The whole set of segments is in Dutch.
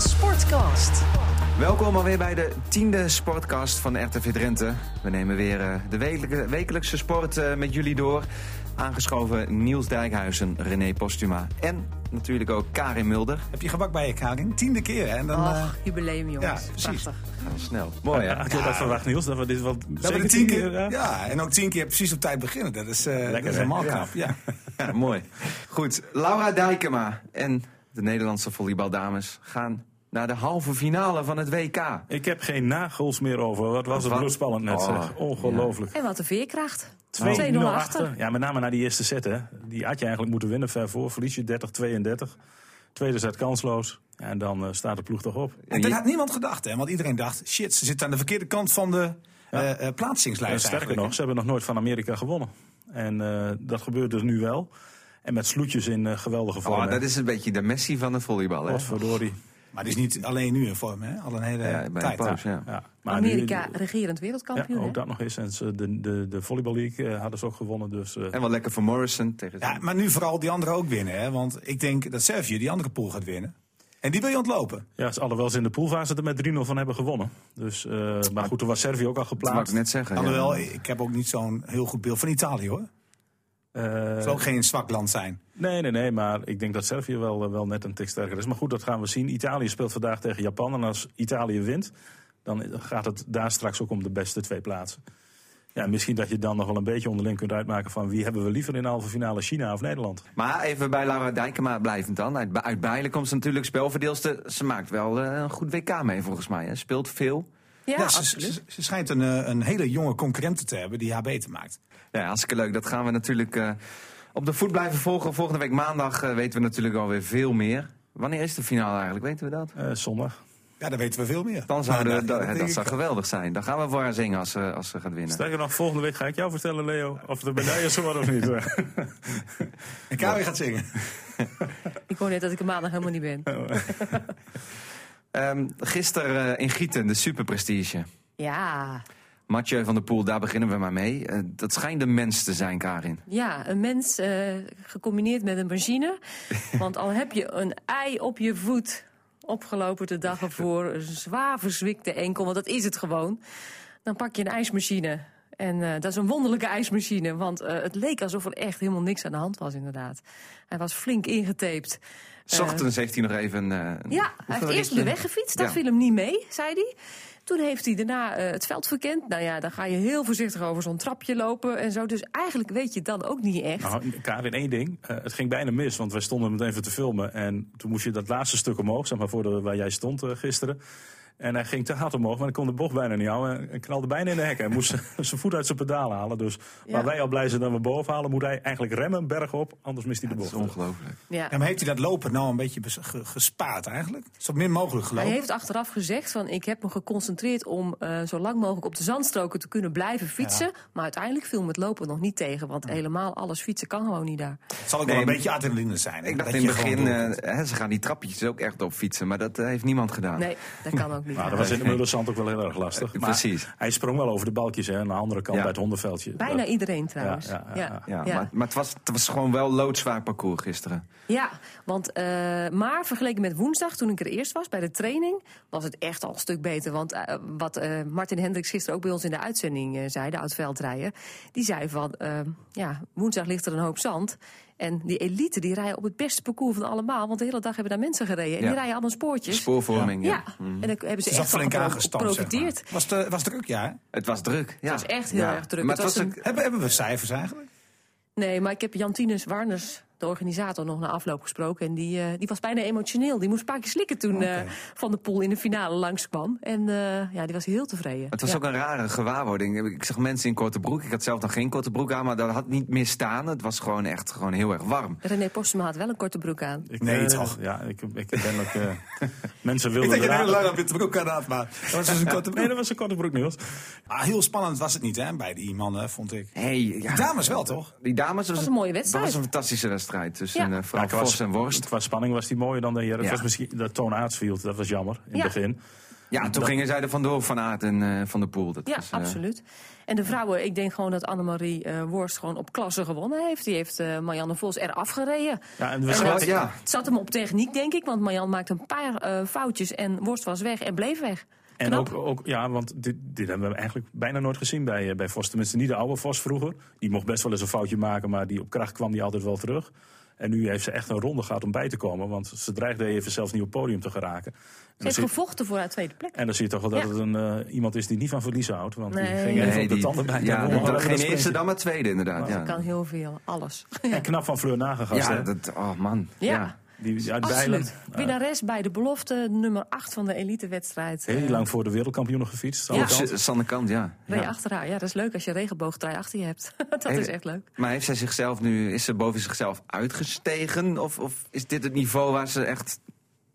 Sportcast. Welkom alweer bij de tiende sportcast van RTV Drenthe. We nemen weer eh, de wekelijke- wekelijkse sport eh, met jullie door. Aangeschoven Niels Dijkhuizen, René Postuma en natuurlijk ook Karin Mulder. Heb je gebak bij je, Karin? Tiende keer, hè? En dan, eh, Ach, jubileum jongens. ja, precies. Prachtig. Gaan we snel. Mooi hè? Had je dat verwacht, Niels? Dat we dit wel dat we zeker de tien keer, ja? ja, en ook tien keer precies op tijd beginnen. Dat is, eh, dat is hè? helemaal Ja. knap. Ja. Ja, mooi. Goed, Laura Dijkema en de Nederlandse volleybaldames gaan naar de halve finale van het Oh, WK. Ik heb geen nagels meer over. Wat was het Wat? bloedspannend net, Oh, zeg. Ongelooflijk. En wat een veerkracht. 2-0 2-0 achter. Ja, met name na die eerste set, hè. Die had je eigenlijk moeten winnen, ver voor. Verlies je 30-32. Tweede set kansloos. Ja, en dan eh, staat de ploeg toch op. En dat had niemand gedacht, hè? Want iedereen dacht, shit, ze zitten aan de verkeerde kant van de eh, eh, En plaatsingslijst sterker eigenlijk. nog, ze hebben nog nooit van Amerika gewonnen. En eh, dat gebeurt er nu wel. En met sloetjes in eh, geweldige vorm. Oh, hè. dat is een beetje de Messi van het volleybal hè? Potverdorie. Maar het is niet alleen nu in vorm, hè? Al een hele Ja, bij een tijd. poos, ja. Ja. Maar nu- Amerika, regerend Ja, wereldkampioen. hè? ook dat nog eens. En ze- de, de, de Volleybal League eh, hadden ze ook gewonnen. Dus eh, En wel lekker voor Morrison tegen Ja, maar nu vooral die anderen ook winnen, hè? Want ik denk dat Servië die andere pool gaat winnen. En die wil je ontlopen. Ja, ze alhoewel ze in de poolfase er met 3-0 van hebben gewonnen. Dus, eh, maar goed, toen was Servië ook al Dat wou ik geplaatst. net zeggen. ja. Alhoewel, ik heb ook niet zo'n heel goed beeld van Italië, hoor. Het zal Eh, ook geen zwak land zijn. nee, nee, nee, maar ik denk dat Servië wel, eh, wel net een tik sterker is. Maar goed, dat gaan we zien. Italië speelt vandaag tegen Japan. En als Italië wint, dan gaat het daar straks ook om de beste twee plaatsen. Ja, misschien dat je dan nog wel een beetje onderling kunt uitmaken van wie hebben we liever in de halve finale, China of Nederland. Maar even bij Laura Dijkema blijvend dan. Uit, Be- uit Bijlen komt ze natuurlijk spelverdeelster. Ze maakt wel eh, een goed WK mee volgens mij. Hè. Speelt veel. Ja, Ja, ze, absoluut. ze- ze schijnt een, eh, een hele jonge concurrent te hebben die haar beter maakt. Ja, hartstikke leuk. Dat gaan we natuurlijk eh, op de voet blijven volgen. Volgende week maandag eh, weten we natuurlijk alweer veel meer. Wanneer is de finale eigenlijk? Weten we dat? Eh, zondag. Ja, daar weten we veel meer. Dan zouden, Maar, we- eh, dat, dat denk zou ik- geweldig zijn. Dan gaan we voor haar zingen als ze, als ze gaat winnen. Sterker nog, volgende week ga ik jou vertellen, Leo, of de medaille is geworden of niet. En Karin gaat zingen. Ik hoor net dat ik er maandag helemaal niet ben. Ehm gisteren eh, in Gieten, de superprestige. Ja, Mathieu van der Poel, daar beginnen we maar mee. Eh, dat schijnt een mens te zijn, Karin. ja een mens eh, gecombineerd met een machine. Want al heb je een ei op je voet opgelopen de dag ervoor. Een zwaar verzwikte enkel, want dat is het gewoon. Dan pak je een ijsmachine. En eh, dat is een wonderlijke ijsmachine. Want eh, het leek alsof er echt helemaal niks aan de hand was, inderdaad. Hij was flink ingetaped. S Eh, ochtends heeft hij nog even... eh, een- Ja, hij heeft Mm. hoeveel eerst op de ritje? weg gefietst. Dat Ja. viel hem niet mee, zei hij. Toen heeft hij daarna eh, het veld verkend. Nou ja, dan ga je heel voorzichtig over zo'n trapje lopen en zo. Dus eigenlijk weet je het dan ook niet echt. Nou, Karin, één ding. Eh, het ging bijna mis, want wij stonden meteen even te filmen. En toen moest je dat laatste stuk omhoog, zeg maar, voor de, waar jij stond eh, gisteren. En hij ging te hard omhoog, maar ik kon de bocht bijna niet houden. En- En knalde bijna in de hekken. Hij moest zijn voet uit zijn pedalen halen. Dus waar wij al blij zijn dat we boven halen, moet hij eigenlijk remmen, berg op. Anders mist hij de Dat is bocht. ongelooflijk. Ja. Ja, maar heeft hij dat lopen nou een beetje bes- ge- gespaard eigenlijk? Zo min mogelijk Hij Nou? gelopen. heeft achteraf gezegd van ik heb me geconcentreerd om eh, zo lang mogelijk op de zandstroken te kunnen blijven fietsen. Maar uiteindelijk viel me het lopen nog niet tegen. Want helemaal alles fietsen kan gewoon niet daar. Het zal ook Nee, wel een maar- beetje adrenaline zijn. hè? Ik dacht Dat in je het begin, gewoon doorkomt. eh, hè, ze gaan die trappetjes ook echt op fietsen, maar dat eh, heeft niemand gedaan. Nee, dat kan ook niet. Nou, dat was in de Mullersand ook wel heel erg lastig. Eh, Maar precies. Hij sprong wel over de balkjes hè, aan de andere kant Ja. bij het hondenveldje. Bijna Dat- iedereen trouwens. ja, ja, ja. Ja, Maar, maar het, was, het was gewoon wel loodzwaar parcours gisteren. Ja, want, eh, maar vergeleken met woensdag, toen ik er eerst was bij de training, was het echt al een stuk beter. Want eh, wat eh, Martin Hendricks gisteren ook bij ons in de uitzending eh, zei, de oud-veldrijder, die zei van, eh, ja, woensdag ligt er een hoop zand. En die elite die rijden op het beste parcours van allemaal, want de hele dag hebben daar mensen gereden. En Ja. die rijden allemaal spoortjes. Spoorvorming, ja. ja, Mhm. en daar hebben ze Ze zat echt van flink aangestampt. zeg maar. geprofiteerd. Was, de, was druk, ja. hè? Het was druk. Ja. Het was echt heel Ja. erg druk. Maar Het was ook- Hebben, hebben we cijfers eigenlijk? Nee, maar ik heb Jantines Warners, de organisator, nog na afloop gesproken. En die, eh, die was bijna emotioneel. Die moest een paar keer slikken toen eh, Van de Poel in de finale langskwam. En eh, ja, die was heel tevreden. het was Ja. ook een rare gewaarwording. Ik zag mensen in korte broek. Ik had zelf nog geen korte broek aan, maar dat had niet meer staan. Het was gewoon echt gewoon heel erg warm. René Postema had wel een korte broek aan. Ik, Nee, eh, toch? Ja, ik, ik ben ook... eh, mensen Ik denk wilden dat je eraan- heel lang op je broek aan had, maar dat was dus een korte Nee, broek. dat was een korte broek, Niels. Ah, heel spannend was het niet, hè, bij die mannen, vond ik. Hey, ja. Dames wel, toch? Die dames was, een mooie wedstrijd. was een fantastische wedstrijd tussen Ja. eh, Frank Ja, qua Vos sp- en Worst. Qua spanning was die mooier dan de heren. Het Ja. was misschien dat Toon Aarts viel, dat was jammer in Ja. het begin. Ja, toen Dat- gingen zij er vandoor van Aert en eh, Van der Poel. Dat Ja, Dus, is, eh, absoluut. En de vrouwen, ik denk gewoon dat Annemarie eh Worst gewoon op klasse gewonnen heeft. Die heeft eh, Marianne Vos eraf gereden. Ja, en we En zaten- dat- Oh, ja. Het zat hem op techniek, denk ik, want Marianne maakte een paar eh, foutjes en Worst was weg en bleef weg. En Knap. ook, ook, ja, want dit, dit hebben we eigenlijk bijna nooit gezien bij, eh, bij Vos. Tenminste, niet de oude Vos vroeger. Die mocht best wel eens een foutje maken, maar die op kracht kwam die altijd wel terug. En nu heeft ze echt een ronde gehad om bij te komen. Want ze dreigde even zelfs niet op het podium te geraken. En Ze dan, heeft zie, gevochten voor haar tweede plek. en dan zie je toch wel dat Ja. het een, eh, iemand is die niet van verliezen houdt. Want die Nee. ging even op de die- tanden bij. ja, Daarom dat- hadden dat we geen dat eerste, sprintje. dan maar tweede inderdaad. Ze Ja, kan heel veel, alles. En knap van Fleur Nagengast. ja hè? dat, oh man. Ja, Ja. die uit Bijlen. absoluut. Ah. Winnares bij de belofte, nummer 8 van de elitewedstrijd. Heel Eh, lang voor de wereldkampioenen gefietst. aan Ja. de kant. S- Sander Kant, ja. Rij Ja. achter haar. Ja, dat is leuk als je regenboogdraai achter je hebt. dat Even- is echt leuk. Maar heeft zij zichzelf nu, is ze boven zichzelf uitgestegen? Of, of is dit het niveau waar ze echt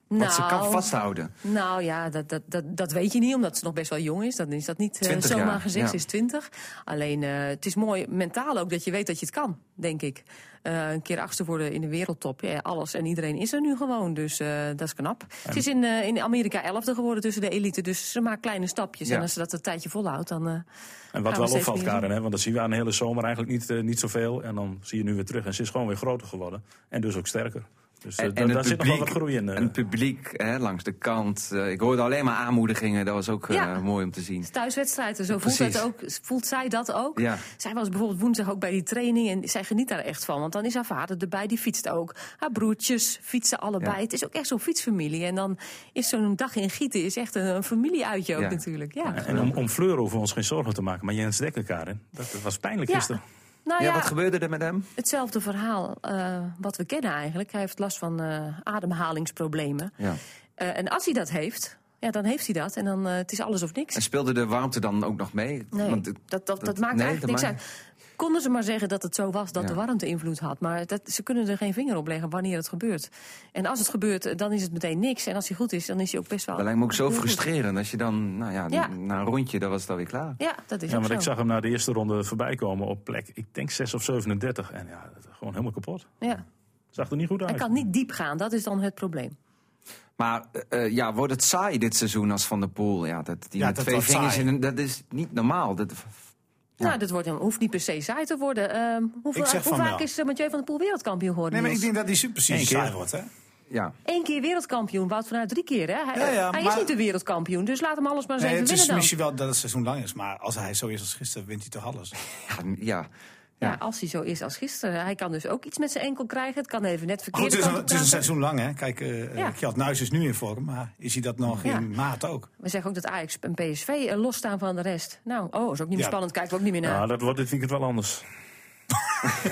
wat ze kan vasthouden? Nou ja, dat, dat, dat, dat weet je niet, omdat ze nog best wel jong is. Dan is dat niet eh, 20 zomaar jaar, gezegd, ja. ze is 20. Alleen eh, het is mooi mentaal ook dat je weet dat je het kan, denk ik. Eh, een keer achtste worden in de wereldtop. Ja, alles en iedereen is er nu gewoon, dus eh, dat is knap. Ze is in, eh, in Amerika elfde geworden tussen de elite, dus ze maakt kleine stapjes. Ja. En als ze dat een tijdje volhoudt, dan... eh, En wat Ja, wel dat heeft opvalt, niet Karen, hè, want dat zien we aan de hele zomer eigenlijk niet, eh, niet zoveel. En dan zie je nu weer terug. En ze is gewoon weer groter geworden. En dus ook sterker. Dus eh, En- da- en daar het zit nog wel wat publiek- groei in. eh. En het publiek hè, langs de kant. eh, ik hoorde alleen maar aanmoedigingen, dat was ook eh, Ja. Oh, mooi om te zien. thuiswedstrijden. Zo voelt, Precies. dat ook, voelt zij dat ook. Ja. Zij was bijvoorbeeld woensdag ook bij die training en zij geniet daar echt van. Want dan is haar vader erbij, die fietst ook. Haar broertjes fietsen allebei. Ja. Het is ook echt zo'n fietsfamilie. En dan is zo'n dag in Gieten is echt een, een familieuitje ook Ja. natuurlijk. Ja. en om, om Fleur hoeven we ons geen zorgen te maken. Maar Jens Dekker, Karen, dat dat was pijnlijk Ja. gisteren. Nou ja, ja, wat gebeurde er met hem? hetzelfde verhaal eh, wat we kennen eigenlijk. Hij heeft last van eh, ademhalingsproblemen. Ja. Eh, en als hij dat heeft, ja, dan heeft hij dat. En dan eh, het is alles of niks. En speelde de warmte dan ook nog mee? Nee, Want het- dat, dat, dat, dat- maakt nee, eigenlijk dat niks maakt- uit. Konden ze maar zeggen dat het zo was, dat Ja. de warmte invloed had. Maar dat, ze kunnen er geen vinger op leggen wanneer het gebeurt. En als het gebeurt, eh, dan is het meteen niks. En als hij goed is, dan is hij ook best wel... dat lijkt me ook zo heel goed. frustrerend. Als je dan, nou ja, Ja. na een rondje, dan was het alweer klaar. Ja, dat is Ja, ook maar zo. ik zag hem na de eerste ronde voorbij komen op plek, ik denk 6 of 37. En ja, dat- gewoon helemaal kapot. Ja. Zag er niet goed uit. Hij kan niet diep gaan, dat is dan het probleem. Maar eh, eh, ja, wordt het saai dit seizoen als Van der Poel? Ja, dat, die Ja, met dat twee wordt vingers saai. in een- Dat is niet normaal. Dat, Ja. Nou, dat wordt, hoeft niet per se saai te worden. Ehm, hoeveel, Ik zeg hoe van vaak wel. is eh, Mathieu van der Poel wereldkampioen geworden? Nee, maar ik Niels? denk dat die super Eén precies keer. saai wordt, hè? ja. Eén keer wereldkampioen, Wout van Aert drie keer. Hè? Hij, Ja, ja, hij is maar- niet de wereldkampioen, dus laat hem alles maar eens Nee, even het winnen is dan. misschien wel dat het seizoen lang is, maar als hij zo is als gisteren, wint hij toch alles. Ja, n- ja. Ja. Ja. als hij zo is als gisteren. Hij kan dus ook iets met zijn enkel krijgen. Het kan even net Goed, verkeerd Oh, het, is een, zijn. het is een seizoen lang, hè? Kijk, eh Ja. ja. Kjeld Nuis is nu in vorm, maar is hij dat nog Ja. in maat ook? We zeggen ook dat Ajax en PSV eh, losstaan van de rest. Nou, oh, is ook niet meer Ja. spannend. Kijken we ook niet meer naar. Ja, dat wordt dit weekend wel anders.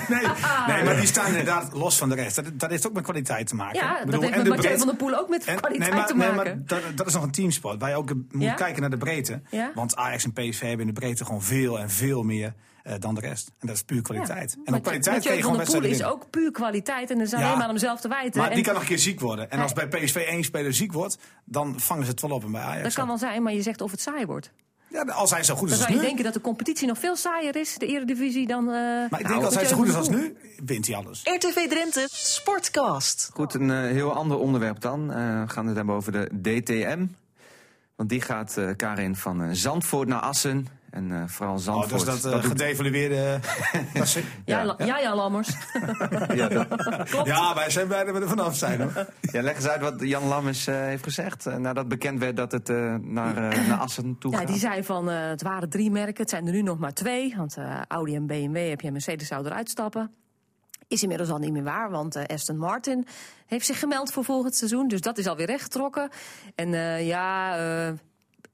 Nee, Ah. nee, maar die staan inderdaad los van de rest. Dat, dat heeft ook met kwaliteit te maken. Ja, Ik dat bedoel, heeft en met de Mathieu breedte- van der Poel ook met en- kwaliteit nee, maar, te nee, maken. maar dat, dat is nog een teamsport waar je ook eh, moet Ja? kijken naar de breedte. Ja? Want Ajax en PSV hebben in de breedte gewoon veel en veel meer eh, dan de rest. En dat is puur kwaliteit. Ja. En op Mathieu- kwaliteit Mathieu kun je van gewoon der Poel wedstrijden is winnen. ook puur kwaliteit. En dat is Ja. alleen maar hem zelf te wijten. Maar En die kan nog een keer ziek worden. En als bij PSV één speler ziek wordt, dan vangen ze het wel op. En bij Ajax dat kan ook. wel zijn, maar je zegt of het saai wordt. ja, als hij zo goed Dan is als zou je nu. denken dat de competitie nog veel saaier is, de eredivisie, dan... eh, Maar ik nou, denk als hij Mathieu zo goed is van als der nu, wint hij alles. RTV Drenthe Sportcast. Goed, een eh, heel ander onderwerp dan. Eh, we gaan het hebben over de DTM. Want die gaat eh, Karin van eh, Zandvoort naar Assen. En eh, vooral Oh, Zandvoort. dus dat, eh, doet- gedevalueerde... eh, dat is- Poel. Ja, La- ja, ja, Lammers. ja, dat- ja, wij zijn blij dat we er vanaf zijn. Hoor. ja, leg eens uit wat Jan Lammers eh, heeft gezegd. eh, nadat bekend werd dat het eh, naar, eh, naar Assen toe Ja, gaat. die zei van eh, het waren drie merken, het zijn er nu nog maar twee. Want eh, Audi en BMW heb je en Mercedes zou eruit stappen. Is inmiddels al niet meer waar, want eh, Aston Martin heeft zich gemeld voor volgend seizoen. Dus dat is alweer rechtgetrokken. En eh, ja, eh,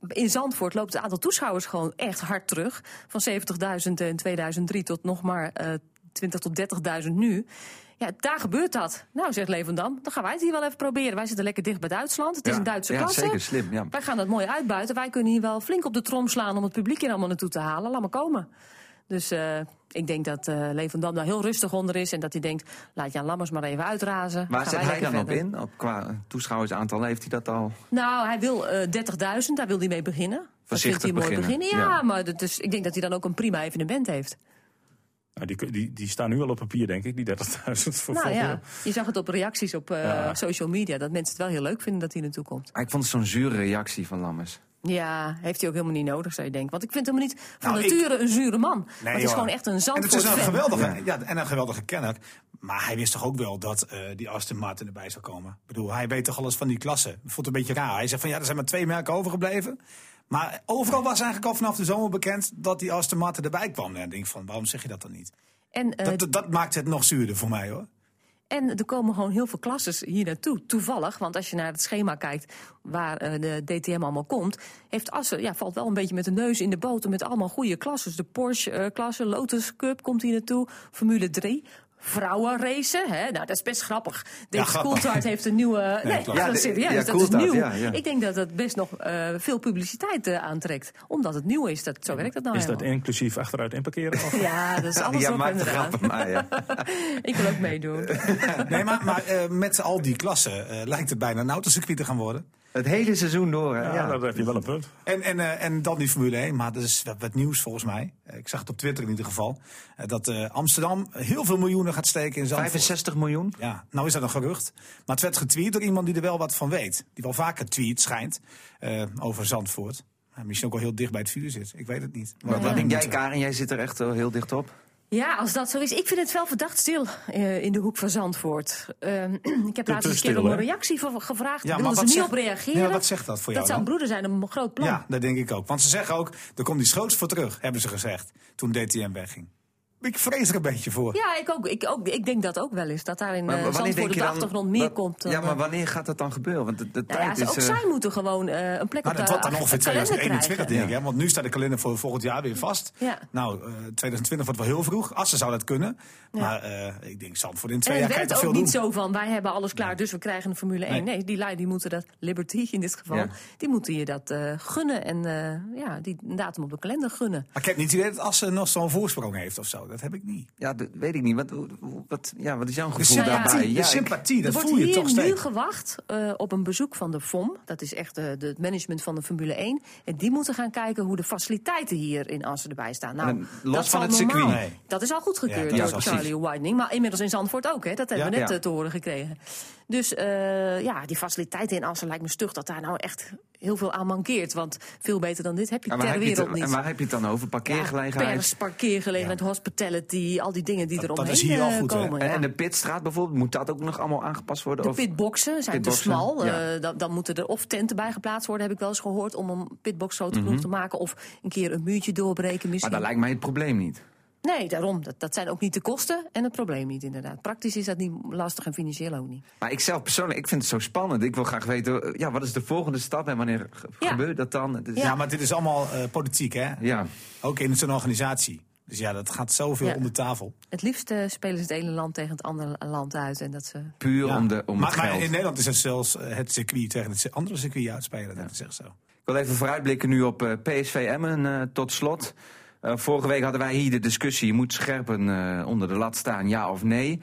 in Zandvoort loopt het aantal toeschouwers gewoon echt hard terug. Van 70.000 in 2003 tot nog maar eh 20.000 tot 30.000 nu. Ja, daar gebeurt dat. Nou, zegt Levendam, dan gaan wij het hier wel even proberen. Wij zitten lekker dicht bij Duitsland. Het is Ja, een Duitse ja, klasse. zeker, slim, ja. Wij gaan dat mooi uitbuiten. Wij kunnen hier wel flink op de trom slaan om het publiek hier allemaal naartoe te halen. Laat maar komen. Dus eh, ik denk dat eh Leendam daar heel rustig onder is. En dat hij denkt, laat Jan Lammers maar even uitrazen. Waar Gaan zit wij hij dan lekker op verder. in? Op, qua toeschouwersaantal heeft hij dat al. Nou, hij wil eh 30.000, daar wil hij mee beginnen. Dat vindt Voorzichtig hij mooi beginnen, Ja, ja. maar dat is, ik denk dat hij dan ook een prima evenement heeft. Nou, die, kun- die, die staan nu al op papier, denk ik, die 30.000 voor Nou volgende ja, je zag het op reacties op eh, Ja. social media. Dat mensen het wel heel leuk vinden dat hij naartoe komt. Maar ik vond het zo'n zure reactie van Lammers. Ja, heeft hij ook helemaal niet nodig, zou je denken. Want ik vind hem niet van Nou, ik- nature een zure man. maar het is joh. gewoon echt een En het is zandvoort een fan. geweldige, ja. en een geweldige kenner. Maar hij wist toch ook wel dat eh, die Aston Martin erbij zou komen. Ik bedoel, hij weet toch alles van die klasse. Ik Vond het een beetje raar. Hij zegt van ja, er zijn maar twee merken overgebleven. Maar overal was eigenlijk al vanaf de zomer bekend dat die Aston Martin erbij kwam. En ik denk van, waarom zeg je dat dan niet? En, eh, Dat, dat, dat maakt het nog zuurder voor mij hoor. en er komen gewoon heel veel klasses hier naartoe. Toevallig, want als je naar het schema kijkt waar eh, de DTM allemaal komt... heeft Assen, ja, valt wel een beetje met de neus in de boter met allemaal goede klasses. De Porsche-klasse, Lotus Cup komt hier naartoe, Formule 3... Vrouwenracen, hè? Nou, dat is best grappig. Dave grappig. Coulthard heeft een nieuwe. Nee, klopt. dat Ja, de- is serieus, ja, dat is Coulthard, nieuw. ja, ja. Ik denk dat dat best nog eh, veel publiciteit eh, aantrekt. Omdat het nieuw is. Dat, zo werkt dat nou Is dat helemaal. inclusief achteruit en parkeren? Of? Ja, dat is alles ja, op maakt en een eraan. grap van mij. Ja. Ik wil ook meedoen. Nee, maar, maar eh, met al die klassen eh, lijkt het bijna een autocircuit te gaan worden. Het hele seizoen door. Hè? Ja, Ja. daar heb je wel een punt. En, en, eh, en dan die Formule 1, maar dat is wat, wat nieuws volgens mij. Eh, Ik zag het op Twitter in ieder geval. eh, dat eh, Amsterdam heel veel miljoenen gaat steken in Zandvoort. 65 miljoen. Ja, nou is dat een gerucht. Maar het werd getweet door iemand die er wel wat van weet. Die wel vaker tweet, schijnt, eh, over Zandvoort. Nou, misschien ook wel heel dicht bij het vuur zit. Ik weet het niet. Maar Wat, wat denk jij, moeten- Karen? Jij zit er echt wel heel dicht op. Ja, als dat zo is. Ik vind het wel verdacht stil eh, in de hoek van Zandvoort. Ehm, ik heb laatst te eens een keer stil, om een hè? reactie voor gevraagd. Ja, Ja, maar Wilden ze wat niet zegt- op reageren? Ja, wat zegt dat voor jou Dat zou een dan? broeder zijn, een groot plan. Ja, dat denk ik ook. Want ze zeggen ook, er komt iets groots voor terug, hebben ze gezegd. Toen DTM wegging. Ik vrees er een beetje voor. Ja, ik, ook, ik, ook, ik denk dat ook wel eens. Dat daar in Maar eh, wanneer Zandvoort op de achtergrond meer wa- komt. dan, Ja, maar eh, wanneer gaat dat dan gebeuren? Want de, de nou ja, tijd ze- is... ook eh, zij moeten gewoon eh, een plek Maar op de dat wordt dan ach- ongeveer kalender krijgen. 2021, denk ik. Hè? Want nu staat de kalender voor volgend jaar weer vast. Ja. Nou, eh, 2020 wordt wel heel vroeg. Assen zou dat kunnen. Maar eh, ik denk, Zandvoort in twee En jaar het kan werkt je toch ook veel niet doen. zo van, wij hebben alles klaar, dus we krijgen een Formule 1. Nee, die lui die moeten dat, Liberty in dit geval, Ja. die moeten je dat eh, gunnen. En eh, ja, die datum op de kalender gunnen. Maar ik heb niet het idee dat Assen nog zo'n voorsprong heeft of zo. Dat heb ik niet. Ja, dat weet ik niet. Wat, hoe- wat, ja, wat is jouw De Dus, gevoel eh, sympathie, daarbij? de Ja, ik- sympathie dat er voel wordt je hier toch nu steeds. gewacht eh, op een bezoek van de FOM. Dat is echt eh, de, het management van de Formule 1. En die moeten gaan kijken hoe de faciliteiten hier in Assen erbij staan. Nou, En los dat van valt het normaal. circuit. Nee. Dat is al Ja, goedgekeurd dat is door al Charlie Whiting. Maar inmiddels in Zandvoort ook, hè? dat hebben Ja, we net ja. eh, te horen gekregen. Dus eh, ja, die faciliteiten in Assen lijkt me stug dat daar nou echt heel veel aan mankeert. Want veel beter dan dit heb je Ja, ter waar heb je het- wereld niet. En waar heb je het dan over? Ja, Parkeergelegenheid? pers, parkeergelegenheid, hospitality, al die dingen die Dat- er dat omheen is hier al eh, goed, hè? komen. En- ja. En de pitstraat bijvoorbeeld, moet dat ook nog allemaal aangepast worden? De Of- pitboxen zijn te Pitboxen, smal. ja. Eh, dan, dan moeten er of tenten bij geplaatst worden, heb ik wel eens gehoord, om een pitbox zo te genoeg te maken. Of een keer een muurtje doorbreken Mhm. Maar misschien. dat lijkt mij het probleem niet. Nee, daarom. Dat, dat zijn ook niet de kosten en het probleem niet inderdaad. Praktisch is dat niet lastig en financieel ook niet. Maar ik zelf persoonlijk, ik vind het zo spannend. Ik wil graag weten, eh, ja, wat is de volgende stap en wanneer ge- Ja. gebeurt dat dan? Het is- Ja, maar dit is allemaal eh, politiek, hè? ja. Ook in zo'n organisatie. Dus ja, dat gaat zoveel Ja. onder tafel. Het liefst eh, spelen ze het ene land tegen het andere land uit. En dat ze... puur Ja. om, de, om maar, het maar geld. in Nederland is het zelfs eh, het circuit tegen het andere circuit uitspelen. Dat is echt zo. Ik wil even vooruitblikken nu op eh, PSV Emmen eh, tot slot. Eh, vorige week hadden wij hier de discussie, je moet scherpen eh, onder de lat staan, ja of nee.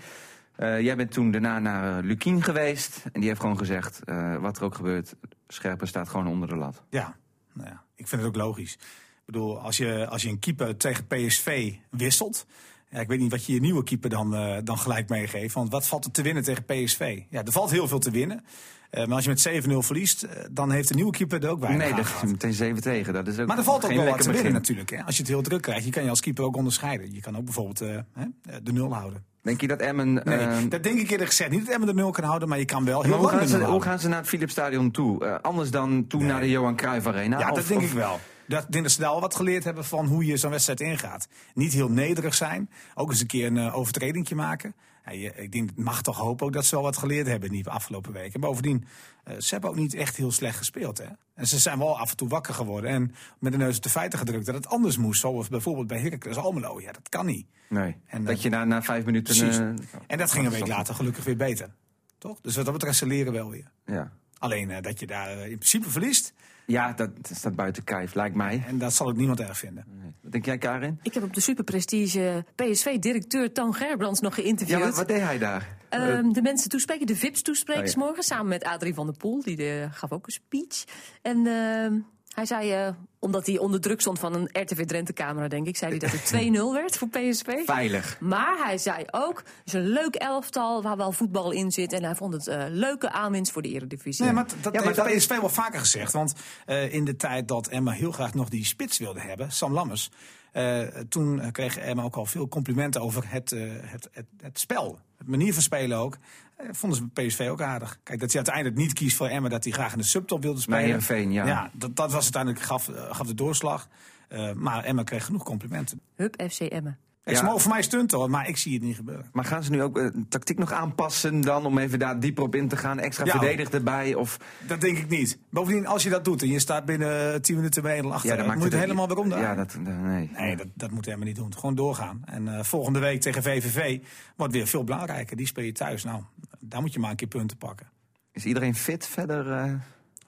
Eh, jij bent toen daarna naar eh, Lukien geweest en die heeft gewoon gezegd, eh, wat er ook gebeurt, scherpen staat gewoon onder de lat. Ja, nou ja, ik vind het ook logisch. Ik bedoel, als je, als je een keeper tegen PSV wisselt. Ja, ik weet niet wat je je nieuwe keeper dan, eh, dan gelijk meegeeft. Want wat valt er te winnen tegen PSV? Ja, er valt heel veel te winnen. Eh, maar als je met 7-0 verliest, eh, dan heeft de nieuwe keeper er ook weinig nee, aan dat is gehad. meteen 7 tegen. Dat is ook Maar er valt ook geen wel wat lekker te winnen begin. natuurlijk. Hè? Als je het heel druk krijgt, je kan je als keeper ook onderscheiden. Je kan ook bijvoorbeeld eh, hè, de nul houden. Denk je dat Emmen... Nee, eh, dat denk ik eerder gezegd. Niet dat Emmen de nul kan houden, maar je kan wel heel maar hoe lang gaan, de ze, nul hoe houden. gaan ze naar het Philipsstadion toe? Eh, anders dan toen naar de Johan Cruijff Arena? Ja, Of- dat denk of- ik wel. Dat, ik denk dat ze daar al wat geleerd hebben van hoe je zo'n wedstrijd ingaat. Niet heel nederig zijn. Ook eens een keer een eh, overtredingje maken. Ja, je- ik denk, het mag toch hopen ook dat ze wel wat geleerd hebben in die afgelopen weken. En bovendien, eh, ze hebben ook niet echt heel slecht gespeeld. Hè? En ze zijn wel af en toe wakker geworden. En met de neus op de feiten gedrukt dat het anders moest. Zoals bijvoorbeeld bij Heracles Almelo. Ja, dat kan niet. Nee, En, dat eh, je na, na vijf minuten... Precies. eh, En dat ging een week later gelukkig weer beter. Toch? Dus wat dat betreft, ze leren wel weer. ja. Alleen eh, dat je daar eh, in principe verliest. ja, dat staat buiten kijf, lijkt mij. En dat zal ook niemand erg vinden. Wat denk jij, Karin? Ik heb op de superprestige PSV-directeur Toon Gerbrands nog Ja, geïnterviewd. wat, wat deed hij daar? Eh, Ehm, de mensen toespreken, de VIP's toespreken Oh ja. morgen samen met Adrie van der Poel. Die eh, gaf ook een speech. En ehm, hij zei, eh, omdat hij onder druk stond van een RTV Drenthe-camera, denk ik, zei hij dat het 2-0 werd voor PSV. Veilig. Maar hij zei ook, het is een leuk elftal waar wel voetbal in zit. En hij vond het eh, leuke aanwinst voor de eredivisie. Nee, maar t- dat Ja, maar heeft dat is- PSV wel vaker gezegd. Want eh, in de tijd dat Emma heel graag nog die spits wilde hebben, Sam Lammers. eh, toen eh, kreeg Emma ook al veel complimenten over het, eh, het, het, het spel. Het manier van spelen ook. Eh, vonden ze PSV ook aardig. Kijk, dat hij uiteindelijk niet kiest voor Emma, dat hij graag in de subtop wilde spelen. Heerenveen, ja. dat, dat was uiteindelijk, gaf, eh, gaf de doorslag. Eh, maar Emma kreeg genoeg complimenten. Hup FC Emmen. Ik Ja. Ze mogen voor mij stunten, hoor, maar ik zie het niet gebeuren. Maar gaan ze nu ook eh, tactiek nog aanpassen dan om even daar dieper op in te gaan? Extra Ja. verdedigd erbij? Of, Dat denk ik niet. Bovendien, als je dat doet en je staat binnen 10 minuten bij 1 achter, ja, dat dan moet je het helemaal weer om. Ja, dat, eh, nee. Nee, dat, dat moet helemaal niet doen. Gewoon doorgaan. En eh, volgende week tegen VVV wordt weer veel belangrijker. Die speel je thuis. Nou, daar moet je maar een keer punten pakken. Is iedereen fit verder? eh?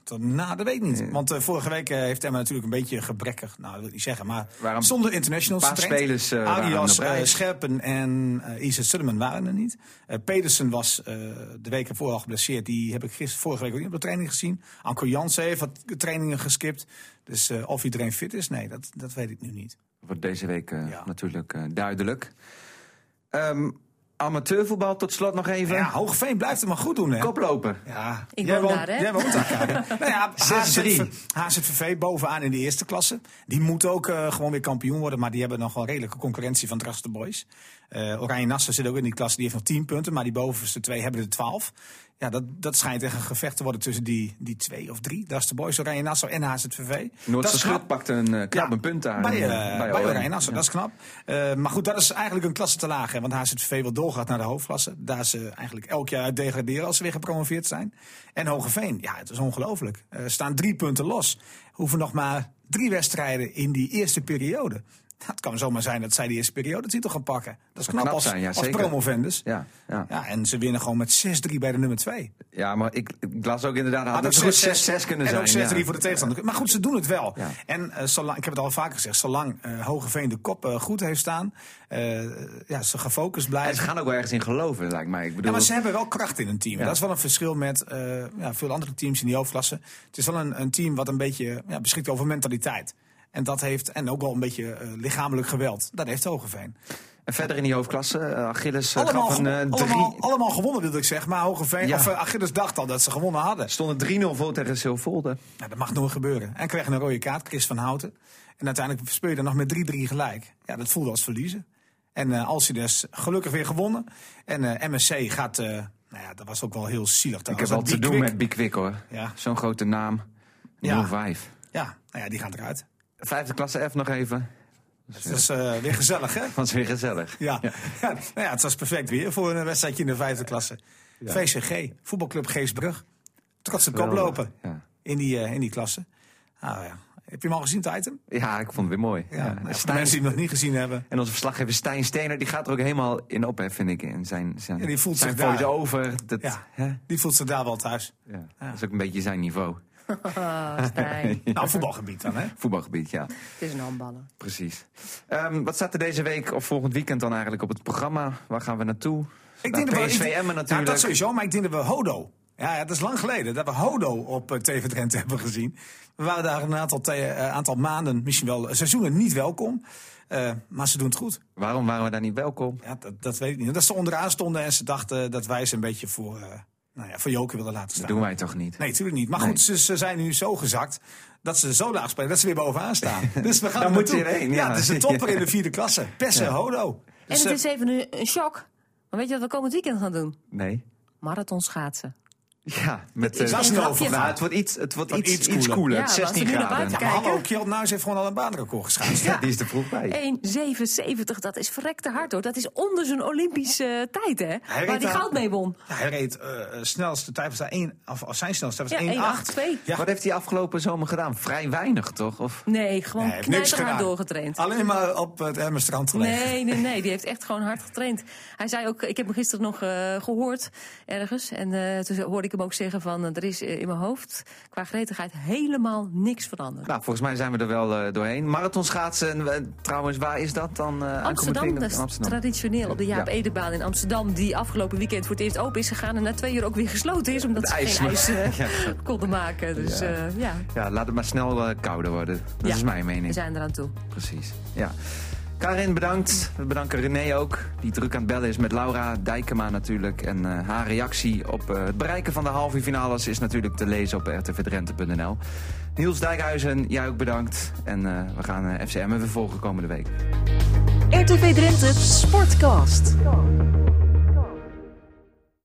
Tot, nou, dat weet ik niet. Want eh, vorige week eh, heeft Emma natuurlijk een beetje gebrekkig. Nou, dat wil ik niet zeggen. Maar Waren een zonder internationals. paar getraind. spelers, eh, waren Arias, op reis. eh, Scherpen en eh Isa Sullivan waren er niet. Eh, Pedersen was eh, de week ervoor al geblesseerd. Die heb ik gisteren, vorige week ook niet op de training gezien. Anko Jansen heeft wat trainingen geskipt. Dus eh, of iedereen fit is, nee, dat, dat weet ik nu niet. Wordt deze week eh, Ja. natuurlijk eh, duidelijk. Ehm, amateurvoetbal tot slot nog even. Ja, Hoogveen blijft het maar goed doen, hè? Koploper. Ja, Ik jij woon woont, daar, hè? Jij woont daar, Karin. nou ja, 6-3. HZV HZVV bovenaan in de eerste klasse. Die moet ook eh, gewoon weer kampioen worden. Maar die hebben nog wel redelijke concurrentie van Draster Boys. Eh, Oranje Nassau zit ook in die klasse. Die heeft nog 10 punten. Maar die bovenste twee hebben er 12. Ja, dat, dat schijnt echt een gevecht te worden tussen die, die twee of drie. Draster Boys, Oranje Nassau en HZVV. Dat Noordse is Schut knap. pakt een eh, knap Ja, een punt daar. Bij, eh, eh, bij Oranje Oranje. Nassau, dat is knap. Eh, maar goed, dat is eigenlijk een klasse te laag. Hè, want HZV wil doorgaat naar de hoofdklasse. Daar ze eigenlijk elk jaar uit degraderen als ze weer gepromoveerd zijn. En Hogeveen, ja, het is ongelooflijk. Er staan drie punten los. Hoeven nog maar drie wedstrijden in die eerste periode. Nou, het kan zomaar zijn dat zij die eerste periode titel gaan pakken. Dat is zou knap, knap als, zijn, ja, als zeker. promovendus. Ja. Ja, ja. en ze winnen gewoon met 6-3 bij de nummer 2. ja, maar ik, ik las ook inderdaad, had, Had het ook goed 6-6 6-6 kunnen en zijn. ook 6-3 ja. voor de tegenstander. Maar goed, ze doen het wel. Ja. En eh, zolang, ik heb het al vaker gezegd, zolang eh, Hogeveen de kop eh, goed heeft staan, eh, ja, ze gefocust En ze blijven. gaan ook wel ergens in geloven, lijkt mij. Ik bedoel, Ja, maar ze hebben wel kracht in een team. Ja. Dat is wel een verschil met eh, ja, veel andere teams in die hoofdklasse. Het is wel een, een team wat een beetje ja, beschikt over mentaliteit. En dat heeft, en ook wel een beetje eh, lichamelijk geweld. Dat heeft Hogeveen. En verder in die hoofdklasse, eh, Achilles eh, Allemaal, gaf een eh, gewo- drie- allemaal, allemaal gewonnen, wilde ik zeggen. Maar Hogeveen, Ja. of eh, Achilles dacht al dat ze gewonnen hadden. Stonden 3-0 voor tegen Silvolde. Nou, dat mag nooit gebeuren. En kreeg een rode kaart, Chris van Houten. En uiteindelijk speel je dan nog met 3-3 gelijk. Ja, dat voelde als verliezen. En eh Alcides gelukkig weer gewonnen. En eh, MSC gaat, eh, nou ja, dat was ook wel heel zielig. Ik heb trouwens. wel te Dat doen Bikwik- met Bikwik hoor. Ja. Zo'n grote naam. 0-5. Ja. Ja, nou ja, die gaan eruit. Vijfde klasse F nog even. Dus dat is eh, weer gezellig, hè? Dat is weer gezellig. Ja. Ja. nou ja, het was perfect weer voor een wedstrijdje in de vijfde klasse. VCG, voetbalclub Geesbrug. Trotse koplopen Ja. in die, eh, in die klasse. Nou ja, heb je hem al gezien, het item? ja, ik vond het weer mooi. Ja, Ja. nou, voor Stijn- mensen die hem nog niet gezien hebben. en onze verslaggever Stijn Stener, die gaat er ook helemaal in op, hè, vind ik. In zijn, zijn, Ja, die voelt zijn zich daar. voice-over. Dat, Ja. hè? Die voelt zich daar wel thuis. Ja. dat is ook een beetje zijn niveau. Ah, Stijn. Nou, voetbalgebied dan, hè? Voetbalgebied, ja. het is een handballen. Precies. Ehm, wat staat er deze week of volgend weekend dan eigenlijk op het programma? Waar gaan we naartoe? Ik Nou, dat we- PSV ik- Emmen Nou, natuurlijk. dat sowieso, maar ik denk dat we Hodo. Ja, ja, dat is lang geleden dat we Hodo op eh, TV Drenthe hebben gezien. We waren daar een aantal, te- eh, aantal maanden, misschien wel eh, seizoenen, niet welkom. Eh, maar ze doen het goed. Waarom waren we daar niet welkom? Ja, dat, dat weet ik niet. Dat ze onderaan stonden en ze dachten dat wij ze een beetje voor, eh, nou ja, voor Joker wilden laten Dat staan. doen wij toch niet? Nee, natuurlijk niet. Maar Nee. goed, ze, ze zijn nu zo gezakt dat ze zo laag spelen dat ze weer bovenaan staan. Dus we gaan Daar er moet je naartoe. heen, ja. Ja, het is een topper in de vierde klasse. Pessen Hodo. En Dus, het eh, is even een, een shock. Maar weet je wat we komend weekend gaan doen? Nee. Marathon schaatsen. Ja, met... eh, Dat is een grapje over. van. nou, het wordt iets, het wordt Wordt iets, iets iets koeler. koeler. Ja, maar als 16 we nu naar graden. buiten Ja, Maar Kijken. hallo, Kjeld Nuis heeft gewoon al een baanrecord geschaatst. die is er vroeg bij. 1,77, dat is verrekte hard hoor. Dat is onder zijn Olympische tijd hè. Hij waar die reed daar- goud mee won. Ja, hij reed eh, eh, snelste tijd was daar 1, of, of zijn snelste tijd was Ja, 1,8. 1,82. Ja. Wat heeft hij afgelopen zomer gedaan? Vrij weinig, toch? Of, Nee, gewoon Nee, hij heeft niks knijterhard gedaan. doorgetraind. Alleen maar op het Emmerstrand gelegen. Nee, nee, nee. Die heeft echt gewoon hard getraind. Hij zei ook, ik heb hem gisteren nog eh, gehoord ergens. En eh, toen hoorde ik ik hem ook zeggen van eh, er is eh, in mijn hoofd qua gretigheid helemaal niks veranderd. Nou, volgens mij zijn we er wel eh, doorheen. Marathonschaatsen, eh, trouwens, waar is dat dan? eh, aankomend Amsterdam, weekend? dat is traditioneel op de Jaap Ja. Edebaan in Amsterdam, die afgelopen weekend voor het eerst open is gegaan en na twee uur ook weer gesloten is, omdat de ze ijs geen nog. ijs eh, konden maken. Dus Ja. eh, ja, Ja, laat het maar snel eh, kouder worden. Dat Ja. is mijn we mening. zijn eraan toe. Precies. Ja. Karin, bedankt. We bedanken René ook, die druk aan het bellen is met Laura Dijkema natuurlijk. En eh, haar reactie op eh, het bereiken van de halve finales is natuurlijk te lezen op rtvdrenthe.nl. Niels Dijkhuizen, jij ook bedankt. En eh, we gaan eh, FCM weer volgen komende week. RTV Drenthe Sportcast.